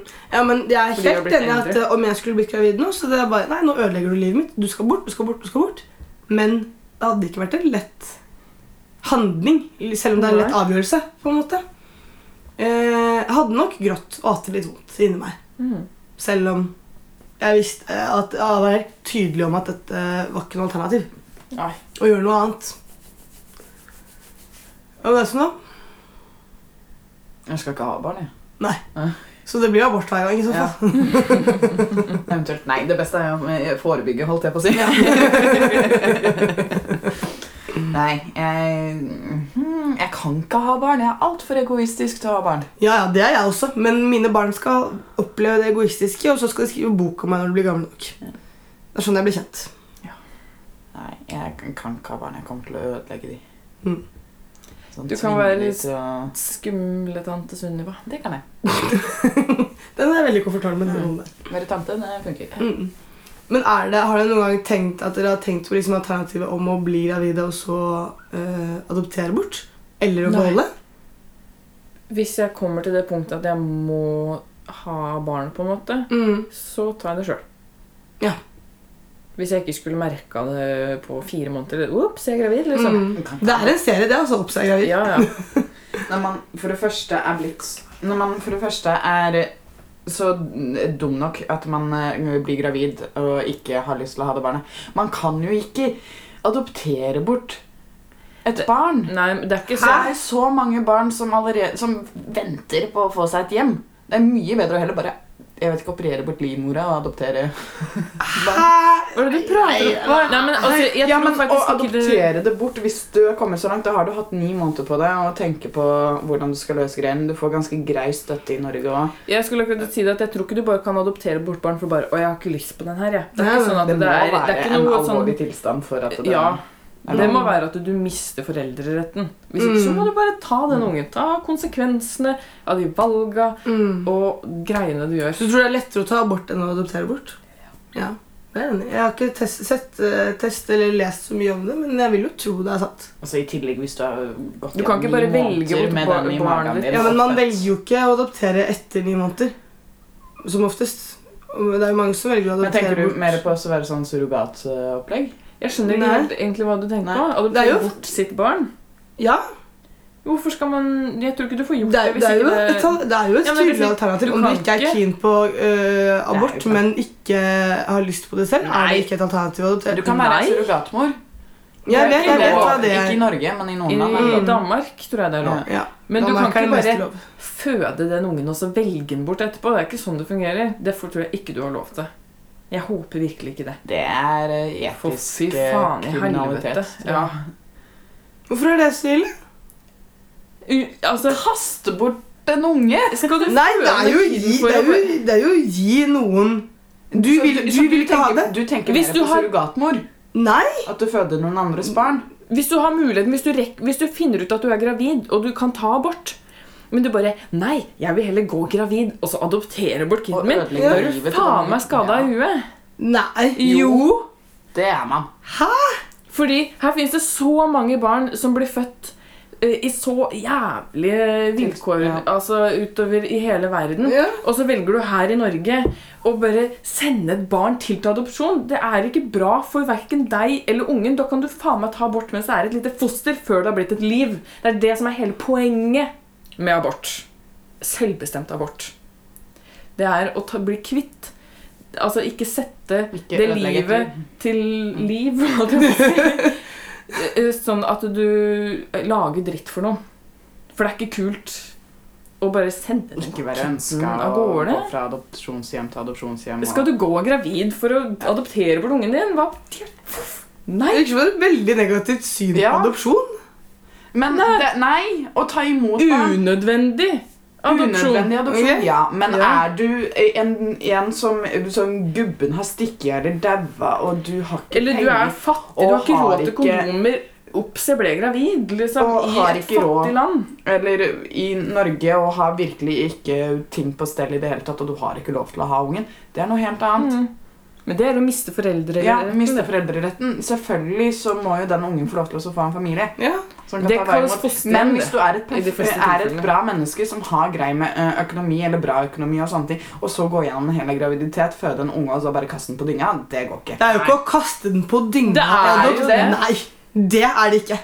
C: Mm. Ja, men jeg er
D: Fordi jeg har
C: helt
D: blitt
C: enig i at
D: eldre.
C: eh, om jeg skulle blitt gravid nå, så det er bare Nei, nå ødelegger du livet mitt. Du skal bort, du skal bort, du skal bort. Men det hadde ikke vært en lett handling, selv om det er en lett avgjørelse, på en måte. Eh, jeg hadde nok grått og hatt det litt vondt inni meg.
D: Mm.
C: Selv om jeg visste eh, at jeg var helt tydelig om at dette var ikke noe alternativ.
D: Nei.
C: Å gjøre noe annet. Og det er sånn da.
B: Jeg skal ikke ha barn, jeg.
C: Så det blir abort hver gang. i så
B: Ja.
C: fall.
B: Eventuelt nei. Det beste er å forebygge, holdt jeg på å si. nei, jeg, hmm, jeg kan ikke ha barn. Jeg er altfor egoistisk til å ha barn.
C: Ja, ja, det er jeg også. Men mine barn skal oppleve det egoistiske, og så skal de skrive bok om meg når de blir gamle nok. Det er sånn jeg blir kjent.
B: Nei, jeg kan ikke ha barn. Jeg kommer til å ødelegge de.
C: Mm.
B: Sånn
D: Du kan
B: tvinge
D: være
B: de
D: litt-
B: til å-
D: Skumle tante Sunniva.
B: Det kan jeg.
C: Den er jeg veldig komfortabel med. Den rollen der.
B: Være tante, det funker.
C: Mm. Men er det, har dere noen gang tenkt at dere har tenkt på liksom alternativet om å bli gravide og så eh, adoptere bort? Eller å
D: Nei.
C: beholde?
D: Hvis jeg kommer til det punktet at jeg må ha barn, på en måte,
C: Mm.
D: så tar jeg det sjøl.
C: Ja.
D: Hvis jeg ikke skulle merka det på fire måneder Ops, jeg er gravid, liksom.
C: Mm. Det er en serie, det. altså Oppseg gravid.
D: Ja, ja.
B: Når man for det første er blitt Når man for det første er så dum nok at man eh, blir gravid og ikke har lyst til å ha det barnet Man kan jo ikke adoptere bort et
D: Det-
B: barn.
D: Nei, men det er ikke sånn.
B: Så
D: så
B: det er så mange barn som, allerede, som venter på å få seg et hjem. Det er mye bedre å heller bare jeg vet ikke, operere bort livmora og adoptere barn.
C: Hæ?
D: Hva er det du prater om? Hva- Nei, men altså, jeg
B: Ja,
D: tror
B: men å
D: faktisk ikke det
B: adoptere det bort Hvis du har kommet så langt, da har du hatt ni måneder på deg å tenke på hvordan du skal løse greiene. Du får ganske grei støtte i Norge òg.
D: Jeg skulle akkurat si det at jeg tror ikke du bare kan adoptere bort barn for bare Å, jeg har ikke lyst på den her, jeg. Det er
C: Nei,
D: ikke sånn at
B: Det
D: det,
B: må
D: er, det
B: være
D: er ikke
B: en
D: noe sånn
B: alvorlig tilstand for at det
D: Ja.
B: er
D: Det
B: lov.
D: må være at du mister foreldreretten. Hvis ikke så
C: Mm.
D: må du bare ta den ungen. Ta konsekvensene av de valga
C: Mm.
D: og greiene du gjør.
C: Så du tror det er lettere å ta abort enn å adoptere bort? Ja. det er jeg enig i. Jeg har ikke test, sett, eh, test eller lest så mye om det, men jeg vil jo tro det er sant.
B: Altså, I tillegg, hvis du har gått
D: Du kan ikke bare velge bort bar- barnet ditt.
C: Ja, men man velger jo ikke å adoptere etter ni måneder. Som oftest. Og Det er jo mange som velger å
B: Men tenker
C: adoptere
B: du
C: bort.
B: mer på å være sånn surrogatopplegg?
D: Jeg skjønner ikke
C: Nei.
D: helt egentlig hva du tenker
B: Nei.
D: på.
C: Det er
D: Adoptere
C: jo-
D: bort sitt barn?
C: Ja,
D: Hvorfor skal man Jeg tror ikke du får gjort
C: det er,
D: det,
C: det, er jo, et tal- det er jo et
D: Ja, men
C: tydelig
D: hvis ikke-
C: alternativ.
D: du
C: Om du
D: kan
C: ikke er
D: ikke-
C: keen på øh, abort,
B: ikke-
C: men ikke har lyst på det selv, er
D: Nei.
C: det ikke et alternativ å adoptere.
B: Du kan være
D: Nei.
B: surrogatmor.
C: Jeg vet, jeg
D: Det er
C: vet
D: ikke
C: hva
D: lov.
C: det er.
B: Ikke i Norge, men i
D: I
B: noen land.
C: Mm.
D: Danmark tror jeg det er lov.
C: Ja.
D: Men du
C: Da merker
D: kan ikke
C: jeg det meste
D: bare
C: lov.
D: føde den ungen og så velge den bort etterpå. Det er ikke sånn det fungerer. Derfor tror jeg ikke du har lov til. Jeg håper virkelig ikke det.
B: Det er eh,
D: For fy
B: etisk eh,
D: faen i helvete.
B: kriminalitet.
D: Ja.
C: Hvorfor er det så ille?
D: U- Altså,
B: Kaste bort en unge!
D: skal du
C: Nei, det er jo å
D: føde
C: gi,
D: for
C: det er
D: å-
C: jo, det er jo å gi noen Du
B: Så
C: vil, du
B: så
C: vil ikke ha det?
B: tenker- Du tenker
D: Hvis
B: mer
D: du
B: på
D: har-
B: surrogatmor.
C: Nei.
B: At du føder noen andres barn.
D: Hvis du har muligheten, hvis du, rekk, hvis du finner ut at du er gravid, og du kan ta abort Men du bare Nei, jeg vil heller gå gravid og så adoptere bort
B: Og
D: kiden min.
B: ødelegge
D: Da er du
B: livet til
D: faen
B: noen.
D: meg skada i huet.
C: Nei.
D: Jo.
B: Det er man.
D: Fordi her finnes det så mange barn som blir født eh, i så jævlige vilkår
B: Ja.
D: altså utover i hele verden.
C: Ja.
D: Og så velger du her i Norge å bare sende et barn til til adopsjon. Det er ikke bra for verken deg eller ungen. Da kan du faen meg ta abort mens det er et lite foster, før det har blitt et liv. Det er det som er hele poenget med abort. Selvbestemt abort. Det er å ta, bli kvitt Altså ikke sette
B: Ikke
D: det
B: ødelegge
D: livet til liv. hva kan jeg si. Eh, Sånn at du eh, lager dritt for noen. For det er ikke kult å bare sende den
B: Ikke være ønska
D: av
B: å
D: gårde.
B: gå fra adopsjonshjem til adopsjonshjem. og-
D: Skal du gå gravid for å adoptere bort ungen din? Hva? Nei!
C: Det virker som et veldig negativt syn på
B: Ja.
C: adopsjon.
B: Men det, nei, å ta imot barn
D: Unødvendig adopsjon.
B: Unødvendig adopsjon,
C: Ok.
B: ja. Men
D: Ja.
B: er du en, en som, som gubben har stikket i eller daua, og du har ikke
D: Eller du er fattig, du har
B: Og
D: ikke
B: har
D: råd til
B: ikke-
D: kondomer. Ops, jeg ble gravid. Liksom,
B: Og
D: I
B: har
D: et
B: ikke råd.
D: fattig land.
B: Eller i Norge og har virkelig ikke ting på stell i det hele tatt, og du har ikke lov til å ha ungen. Det er noe helt annet.
D: Mm. Men det er å miste foreldre.
B: Ja, Miste foreldreretten. Selvfølgelig så må jo den ungen få lov til å få en familie.
C: Ja.
B: Som kan
D: Det
B: ta vare
D: kalles
B: mot-
D: fosterhjem,
B: Men
D: det,
B: hvis du er et,
D: i de fleste
B: er et
D: tilfellene.
B: bra menneske som har grei med ø, økonomi, eller bra økonomi og sånne ting, og så gå gjennom en hel graviditet, føde en unge og så bare kaste den på dynga, det går ikke.
C: Det er jo ikke å kaste den på dynga.
D: Det er
B: jo det.
C: Nei, det er det ikke.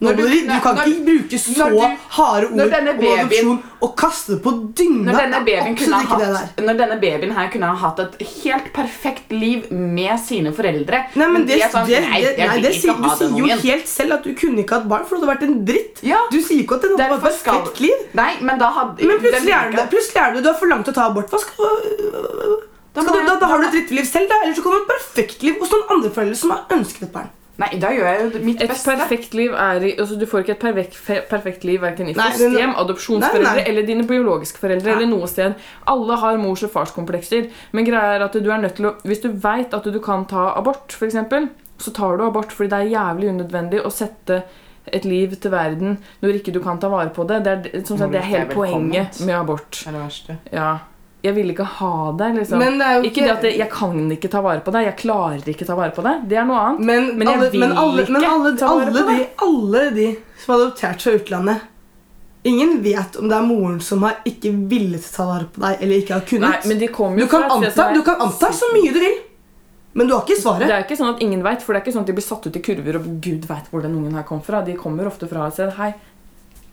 B: Når
C: Når
B: du-
C: du, du kan
B: når-
C: ikke bruke så
B: når du-
C: harde
B: når
C: ord
B: denne
C: om
B: babyen-
C: adopsjon og kaste det på dynga.
B: Når denne,
C: Det er
B: babyen kunne
C: absolutt
B: ha
C: ikke det der.
B: hatt, når denne babyen her kunne ha hatt et helt perfekt liv med sine foreldre
C: Nei, men det,
B: de er sånn,
C: det,
B: nei,
C: det,
B: jeg
C: nei,
B: vil
C: det
B: ikke
C: sier, Du
B: ha den
C: sier jo
B: ungen.
C: helt selv at du kunne ikke hatt barn, for det hadde vært en dritt.
B: Ja.
C: Du sier ikke at den hadde
B: Derfor
C: vært et
B: skal-
C: perfekt liv.
B: Nei, men da hadde
C: Men plutselig
B: den-
C: er du det. Plutselig er du, du har for langt å ta abort. Hva skal,
B: Da
C: da,
B: må
C: skal du,
B: jeg-
C: da, da har du et drittliv selv, da. Eller så kommer du et perfekt liv hos noen andre foreldre som har ønsket et barn.
B: Nei, da gjør jeg jo det- mitt
D: Et
B: beste.
D: perfekt liv er i, altså Du får ikke et perfekt, fe- perfekt liv verken i
C: Nei, men-
D: fosterhjem, adopsjonsforeldre
C: Nei, nei.
D: eller dine biologiske foreldre.
C: Ja.
D: eller noe sted. Alle har mors- og farskomplekser. Men greia er at du er nødt til å, hvis du veit at du kan ta abort, for eksempel, så tar du abort fordi det er jævlig unødvendig å sette et liv til verden når ikke du kan ta vare på det. Det er, som sagt, det er
B: Hvor det er
D: hele poenget
B: velkomment.
D: med abort.
B: Det er det verste.
D: Ja. Jeg vil ikke ha det. liksom.
C: Men eh, det er jo
D: ikke det at jeg kan ikke ta vare på deg, jeg klarer ikke ta vare på deg. Det er noe annet.
C: Men,
D: Men jeg
C: alle,
D: vil
C: men alle, men
D: ikke
C: alle,
D: ta vare
C: alle,
D: på
C: de, alle de som har adoptert fra utlandet Ingen vet om det er moren som har ikke villet ta vare på deg eller ikke har
D: Nei,
C: kunnet.
D: men de kommer
C: du,
D: jo
C: kan
D: fra et sted som
C: anta,
D: er-
C: du kan anta så mye du vil, men du har ikke
D: Det
C: svaret.
D: er ikke sånn at ingen vet, for det er ikke sånn at de blir satt ut i kurver og gud vet hvor den ungen her kom fra. De kommer ofte fra et sted. Hei,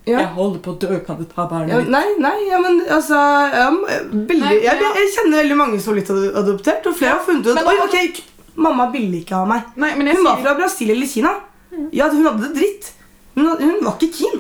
C: Ja.
D: jeg holder på å dø, kan du ta
C: Ja,
D: barnet mitt?
C: nei, nei, ja, men altså ja, m- veldig,
B: Nei,
C: jeg,
B: ja.
C: jeg kjenner veldig mange som har blitt ad- adoptert, og flere har funnet ut
B: Men-
C: at Oi, ok, k- mamma ville ikke ha meg.
B: Nei, men jeg
C: Hun var
B: sier-
C: fra Brasil eller Kina.
D: Mm.
C: Ja, hun hadde det dritt. Hun, hadde, hun var ikke keen.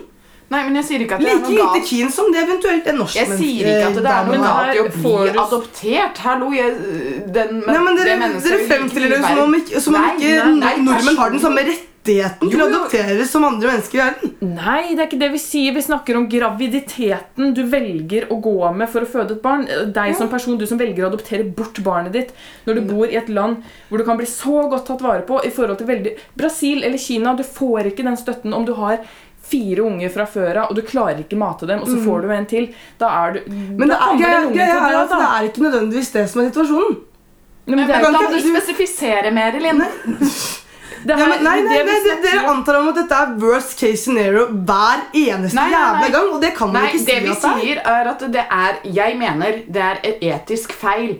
B: Nei, men jeg sier ikke at det er
C: Like
B: noe
C: lite
B: galt.
C: keen som det eventuelt en norsk eh,
B: Jeg sier ikke at det er noe
D: men
B: galt i å
D: her får
B: bli
D: du-
B: adoptert. Hallo, jeg den,
C: Nei, men
B: det
C: Dere,
B: mennesket
C: dere
B: vil ikke
C: fremstiller det
B: være-
C: som om ikke, som om
B: Nei,
C: ikke
B: nei, nei,
C: nordmenn har
B: person-
C: den samme rettigheten til å
B: Jo, jo.
C: adoptere som andre mennesker i verden.
D: Nei, det er ikke det vi sier. Vi snakker om graviditeten du velger å gå med for å føde et barn. Deg som person, du som velger å adoptere bort barnet ditt når du bor i et land hvor du kan bli så godt tatt vare på i forhold til veldig Brasil eller Kina, du får ikke den støtten om du har fire unger fra før av, og du klarer ikke mate dem, og så får du en til. Da er du
C: Mm. Men det
D: da
C: er,
D: kommer
C: greia,
D: den ungen til å
C: greia er
D: dø,
C: at
D: da.
C: det er ikke nødvendigvis det som er situasjonen.
D: Nei,
B: Men
D: men det er jo
C: kan
B: da
C: ikke-
B: må du spesifisere mer, Elin.
D: Det
C: Nei,
D: her-
C: men, nei, nei,
D: det vi
C: nei, det-
D: snakker
C: Dere
D: om-
C: antar om at dette er worst case scenario hver eneste
B: Nei, nei, nei.
C: jævla gang. Og det kan man
B: Nei,
C: ikke si
B: det vi
C: at det er.
B: sier, er at det er Jeg mener det er et etisk feil.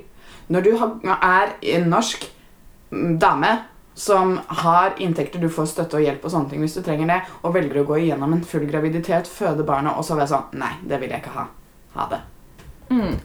B: Når du har, er en norsk mm, dame som har inntekter, du får støtte og hjelp og sånne ting hvis du trenger det, og velger å gå igjennom en full graviditet, føde barnet, og så være sånn Nei, det vil jeg ikke ha. Ha det.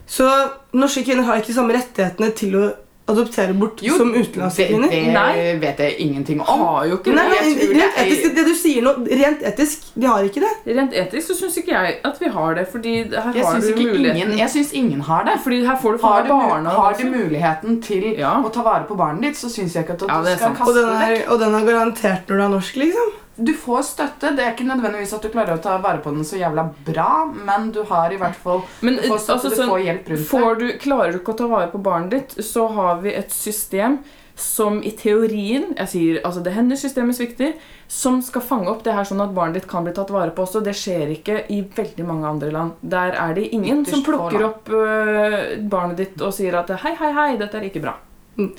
C: Så norske kvinner har ikke samme rettighetene til å adoptere bort
B: Jo,
C: som utenlandske
B: Det,
C: kvinner.
B: det
D: Nei.
B: vet jeg ingenting om.
D: Har jo ikke
C: Nei,
D: det.
B: jeg
C: nei,
B: tror
C: rent
B: det er-
C: etisk, det du sier nå, rent etisk, de har ikke det.
D: Rent etisk så syns ikke jeg at vi har det, fordi her
B: Jeg
D: har
B: syns
D: du
B: ikke
D: muligheten.
B: ingen, jeg synes ingen har det.
D: Fordi her får du
B: Har
D: faen
B: du,
D: meg barna
B: mu- har du muligheten til
D: Ja.
B: å ta vare på barnet ditt, så syns jeg ikke at du
D: Ja, det er
B: skal
D: sant.
C: Og
B: kaste
C: den,
B: det
C: er,
B: vekk.
C: og den er garantert når du er norsk, liksom.
B: Du får støtte. Det er ikke nødvendigvis at du klarer å ta vare på den så jævla bra, men du har i hvert fall
D: Men,
B: du får, støtte,
D: altså,
B: du
D: sånn,
B: får hjelp rundt
D: Får du, klarer du ikke å ta vare på barnet ditt, så har vi et system som i teorien jeg sier, altså Det hender systemet svikter, som skal fange opp det her sånn at barnet ditt kan bli tatt vare på også. Det skjer ikke i veldig mange andre land. Der er det ingen
B: Ytterst
D: som
B: få
D: plukker
B: land.
D: opp øh, barnet ditt og sier at hei, hei, hei, dette er ikke bra.
C: Mm.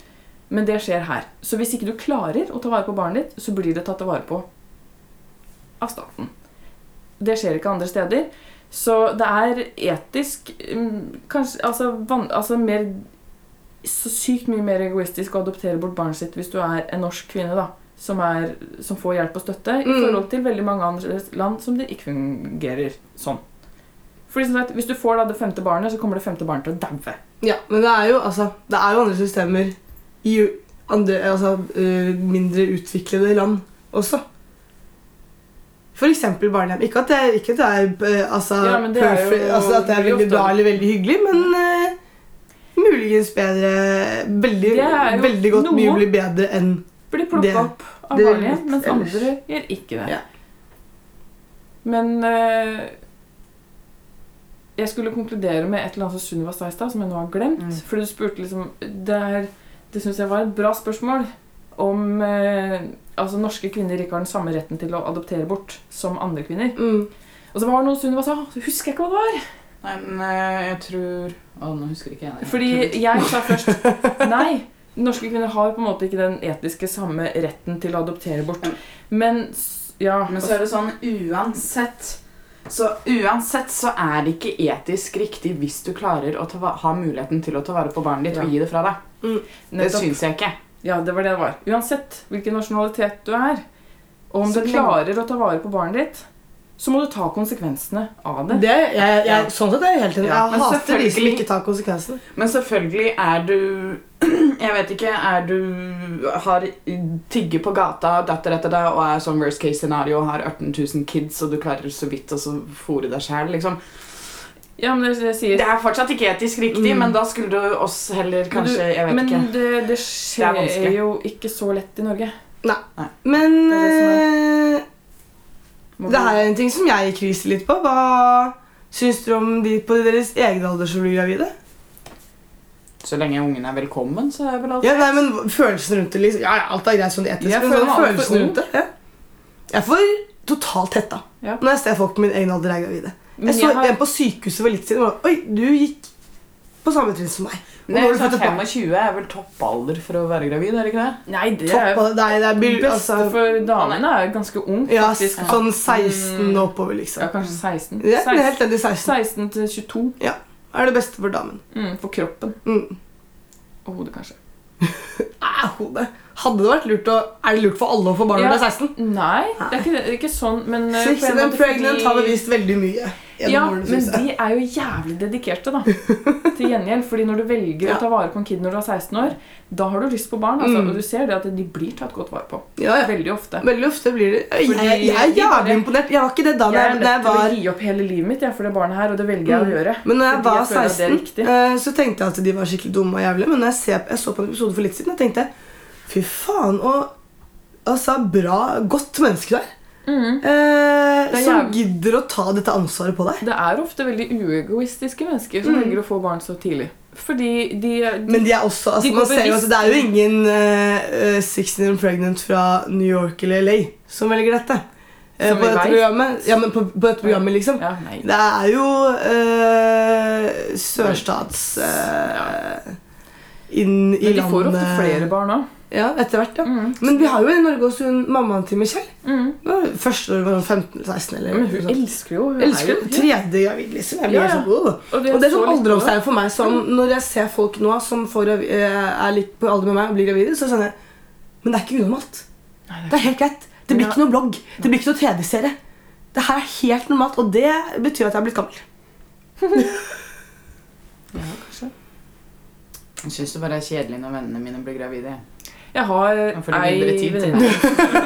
D: Men det skjer her. Så hvis ikke du klarer å ta vare på barnet ditt, så blir det tatt vare på av staten. Det skjer ikke andre steder. Så det er etisk mm, kanskje, altså, van, altså mer Så sykt mye mer egoistisk å adoptere bort barnet sitt hvis du er en norsk kvinne, da. Som, er, som får hjelp og støtte, i
C: Mm.
D: forhold til veldig mange andre land som det ikke fungerer sånn. Fordi som sagt, Hvis du får da det femte barnet, så kommer det femte barnet til å daue.
C: Ja, Men det er jo, altså, det er jo andre systemer i u- andre, altså, øh, mindre utviklede land også. For eksempel barnehjem. Ikke at det er, ikke at det er øh, altså,
D: Ja, men det er jo
C: perfect- altså, at det er
D: veldig
C: veldig bra
D: ofte-
C: eller veldig hyggelig, men øh, muligens bedre Veldig,
D: Det er jo
C: veldig godt
D: noe.
C: mye blir bedre enn
D: Blir
C: Det-
D: plukka opp av
C: det er
D: barnet,
C: litt
D: mens
C: ellers.
D: andre gjør ikke det.
C: Ja.
D: Men eh, jeg skulle konkludere med et eller annet som Sunniva sa i stad, som jeg nå har glemt.
B: Mm.
D: For du spurte liksom Det, er- det syns jeg var et bra spørsmål om eh, altså norske kvinner ikke har den samme retten til å adoptere bort som andre kvinner.
C: mm.
D: Og så var det noe Sunniva sa, så husker jeg ikke hva det var.
B: Nei, men eh, jeg tror Å, nå husker ikke jeg det.
D: Fordi jeg sa først Nei, norske kvinner har på en måte ikke den etiske samme retten til å adoptere bort. Men s- ja
B: Men så er det sånn uansett så uansett så er det ikke etisk riktig hvis du klarer å ta, va- ha muligheten til å ta vare på barnet ditt
D: Ja.
B: og gi det fra deg. Det
D: nettopp,
B: syns jeg ikke.
D: Ja, det var det det var. Uansett hvilken nasjonalitet du er, og om
B: Så
D: du
B: lenge-
D: klarer å ta vare på barnet ditt, så må du ta konsekvensene av det.
C: Det, jeg, jeg, Sånn sett er jeg helt enig.
B: Ja,
C: jeg
B: men
C: hater de som
B: selvfølgelig-
C: ikke tar konsekvensen.
B: Men selvfølgelig er du Jeg vet ikke. Er du har tigger på gata datter etter deg og er sånn worst case scenario og har 18 000 kids og du klarer så vidt å så fôre deg sjæl, liksom.
D: Ja, men det, det sier
B: Det er fortsatt ikke etisk riktig,
C: Mm.
B: men da skulle du oss heller
D: Men du-
B: kanskje Jeg vet
D: men
B: ikke.
D: det, det skjer
B: vanskelig.
D: jo ikke så lett i Norge.
C: Men eh,
D: Det er
C: det,
D: det Må
C: det
D: du-
C: her er en ting som jeg kriser litt på. Hva syns dere om de på deres egen alder som blir gravide?
B: Så lenge ungen er velkommen, så er vel alt
C: Ja, nei, men hva- Følelsen rundt det liksom Ja, ja, alt er greit sånn etisk,
D: Jeg
C: men
D: føler
C: sånn
D: meg altfor
C: følelsen rundt det ja. Jeg får totalt hetta
D: Ja.
C: når jeg ser folk på min egen alder er gravide. Jeg
D: Men
C: så
D: jeg har-
C: en på sykehuset for litt siden. og var, Oi, du gikk på samme trinn som meg. Og nå
B: Nei,
C: har du
B: så
C: fått et barn.
B: 25 er vel toppalder for å være gravid, er det ikke det?
D: Nei, det er
C: Topp av deg. Det er
D: jo
C: bil,
D: beste
C: altså,
D: for damene er jo ganske ung,
C: ja,
D: faktisk.
C: sånn 16 og oppover, liksom.
D: Ja, kanskje 16.
C: Det er helt enig 16.
D: 16 til 22
C: Er det beste for damen.
D: mm, for kroppen
C: Mm.
D: og hodet, kanskje.
C: Æ, hodet. Hadde det vært lurt å Er det lurt for alle å få barn når
D: Ja.
C: det er 16?
D: Nei, det er ikke, det er ikke sånn, men eh, på en
C: Sexy and
D: måte
C: pregnant
D: fordi-
C: har bevist veldig mye. gjennom
D: Ja,
C: årene,
D: men
C: synes jeg.
D: de er jo jævlig dedikerte, da. Til gjengjeld. Fordi når du velger
C: Ja.
D: å ta vare på en kid når du er 16 år, da har du lyst på barn. Altså,
C: Mm.
D: Og du ser det at de blir tatt godt vare på.
C: ja, ja.
D: Veldig ofte.
C: Veldig ofte blir det Jeg,
D: Fordi
C: jeg, jeg er
D: de bare-
C: jævlig imponert. Jeg var ikke det da
D: Jeg er
C: jeg, da jeg
D: nødt til å
C: var
D: gi opp hele livet mitt jeg, for det barnet her, og det velger jeg
C: Mm.
D: å gjøre.
C: men når jeg
D: Fordi
C: var
D: jeg føler at det er
C: 16,
D: riktig.
C: eh, så tenkte jeg at de var skikkelig dumme og jævlige. Men når jeg, ser, jeg så på en episode for litt siden, og tenkte fy faen og altså, bra, godt menneske du er.
D: Mm. Det
C: Eh,
D: er
C: som
D: jæv-
C: gidder å ta dette ansvaret på deg.
D: Det er ofte veldig uegoistiske mennesker som
C: Mm.
D: velger å få barn så tidlig. Fordi de, de
C: Men de er også, altså,
D: De går
C: man ser jo at
D: bevisst
C: det er jo ingen uh, 16 and pregnant fra New York eller LA som velger dette. Eh,
D: Som
C: på
D: vi
C: dette
D: vet.
C: programmet. Ja, men på, på dette programmet, liksom.
D: Ja, nei.
C: Det er jo eh, sørstats... eh, inn i
D: Men de får ofte
C: landet.
D: flere barn òg.
C: Ja, etter hvert, eh, ja.
D: Mm.
C: Men vi har jo i Norge også hun mammaen til Michelle.
D: Mm.
C: Det var Første år var hun 15-16 eller
D: Men
C: noe
D: hun
C: sånt.
D: elsker jo hun er
C: Elsker
D: jo-
C: den. Tredje gravid, liksom. Jeg blir
D: Ja, ja.
C: sånn, «Åh».
D: Og det Mm. er
C: Og det er
D: så
C: sånn
D: litt
C: alderdomstegn for meg som Når jeg ser folk nå som får, gravi- eh, er litt på alder med meg og blir gravide, så er det sånn jeg Men det er ikke unormalt. Det er helt greit. Det blir
D: Ja.
C: ikke noe blogg. Det blir ikke noe TV-serie. Det her er helt normalt, og det betyr at jeg er blitt gammel.
B: Jeg syns det bare er kjedelig når vennene mine blir gravide.
D: Jeg har
B: Da får de mindre tid til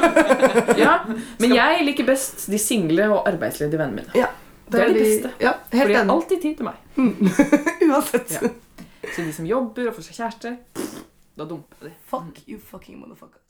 D: ja, men jeg liker best de single og arbeidsledige vennene mine. Det er de
C: veldig-
D: beste.
C: Ja,
D: For de
C: helt
D: har
C: enig. Mm.
D: alltid tid til meg.
C: Uansett.
D: Ja. Så de som jobber og får seg kjæreste, da dumper de.
C: Fuck you fucking motherfucker.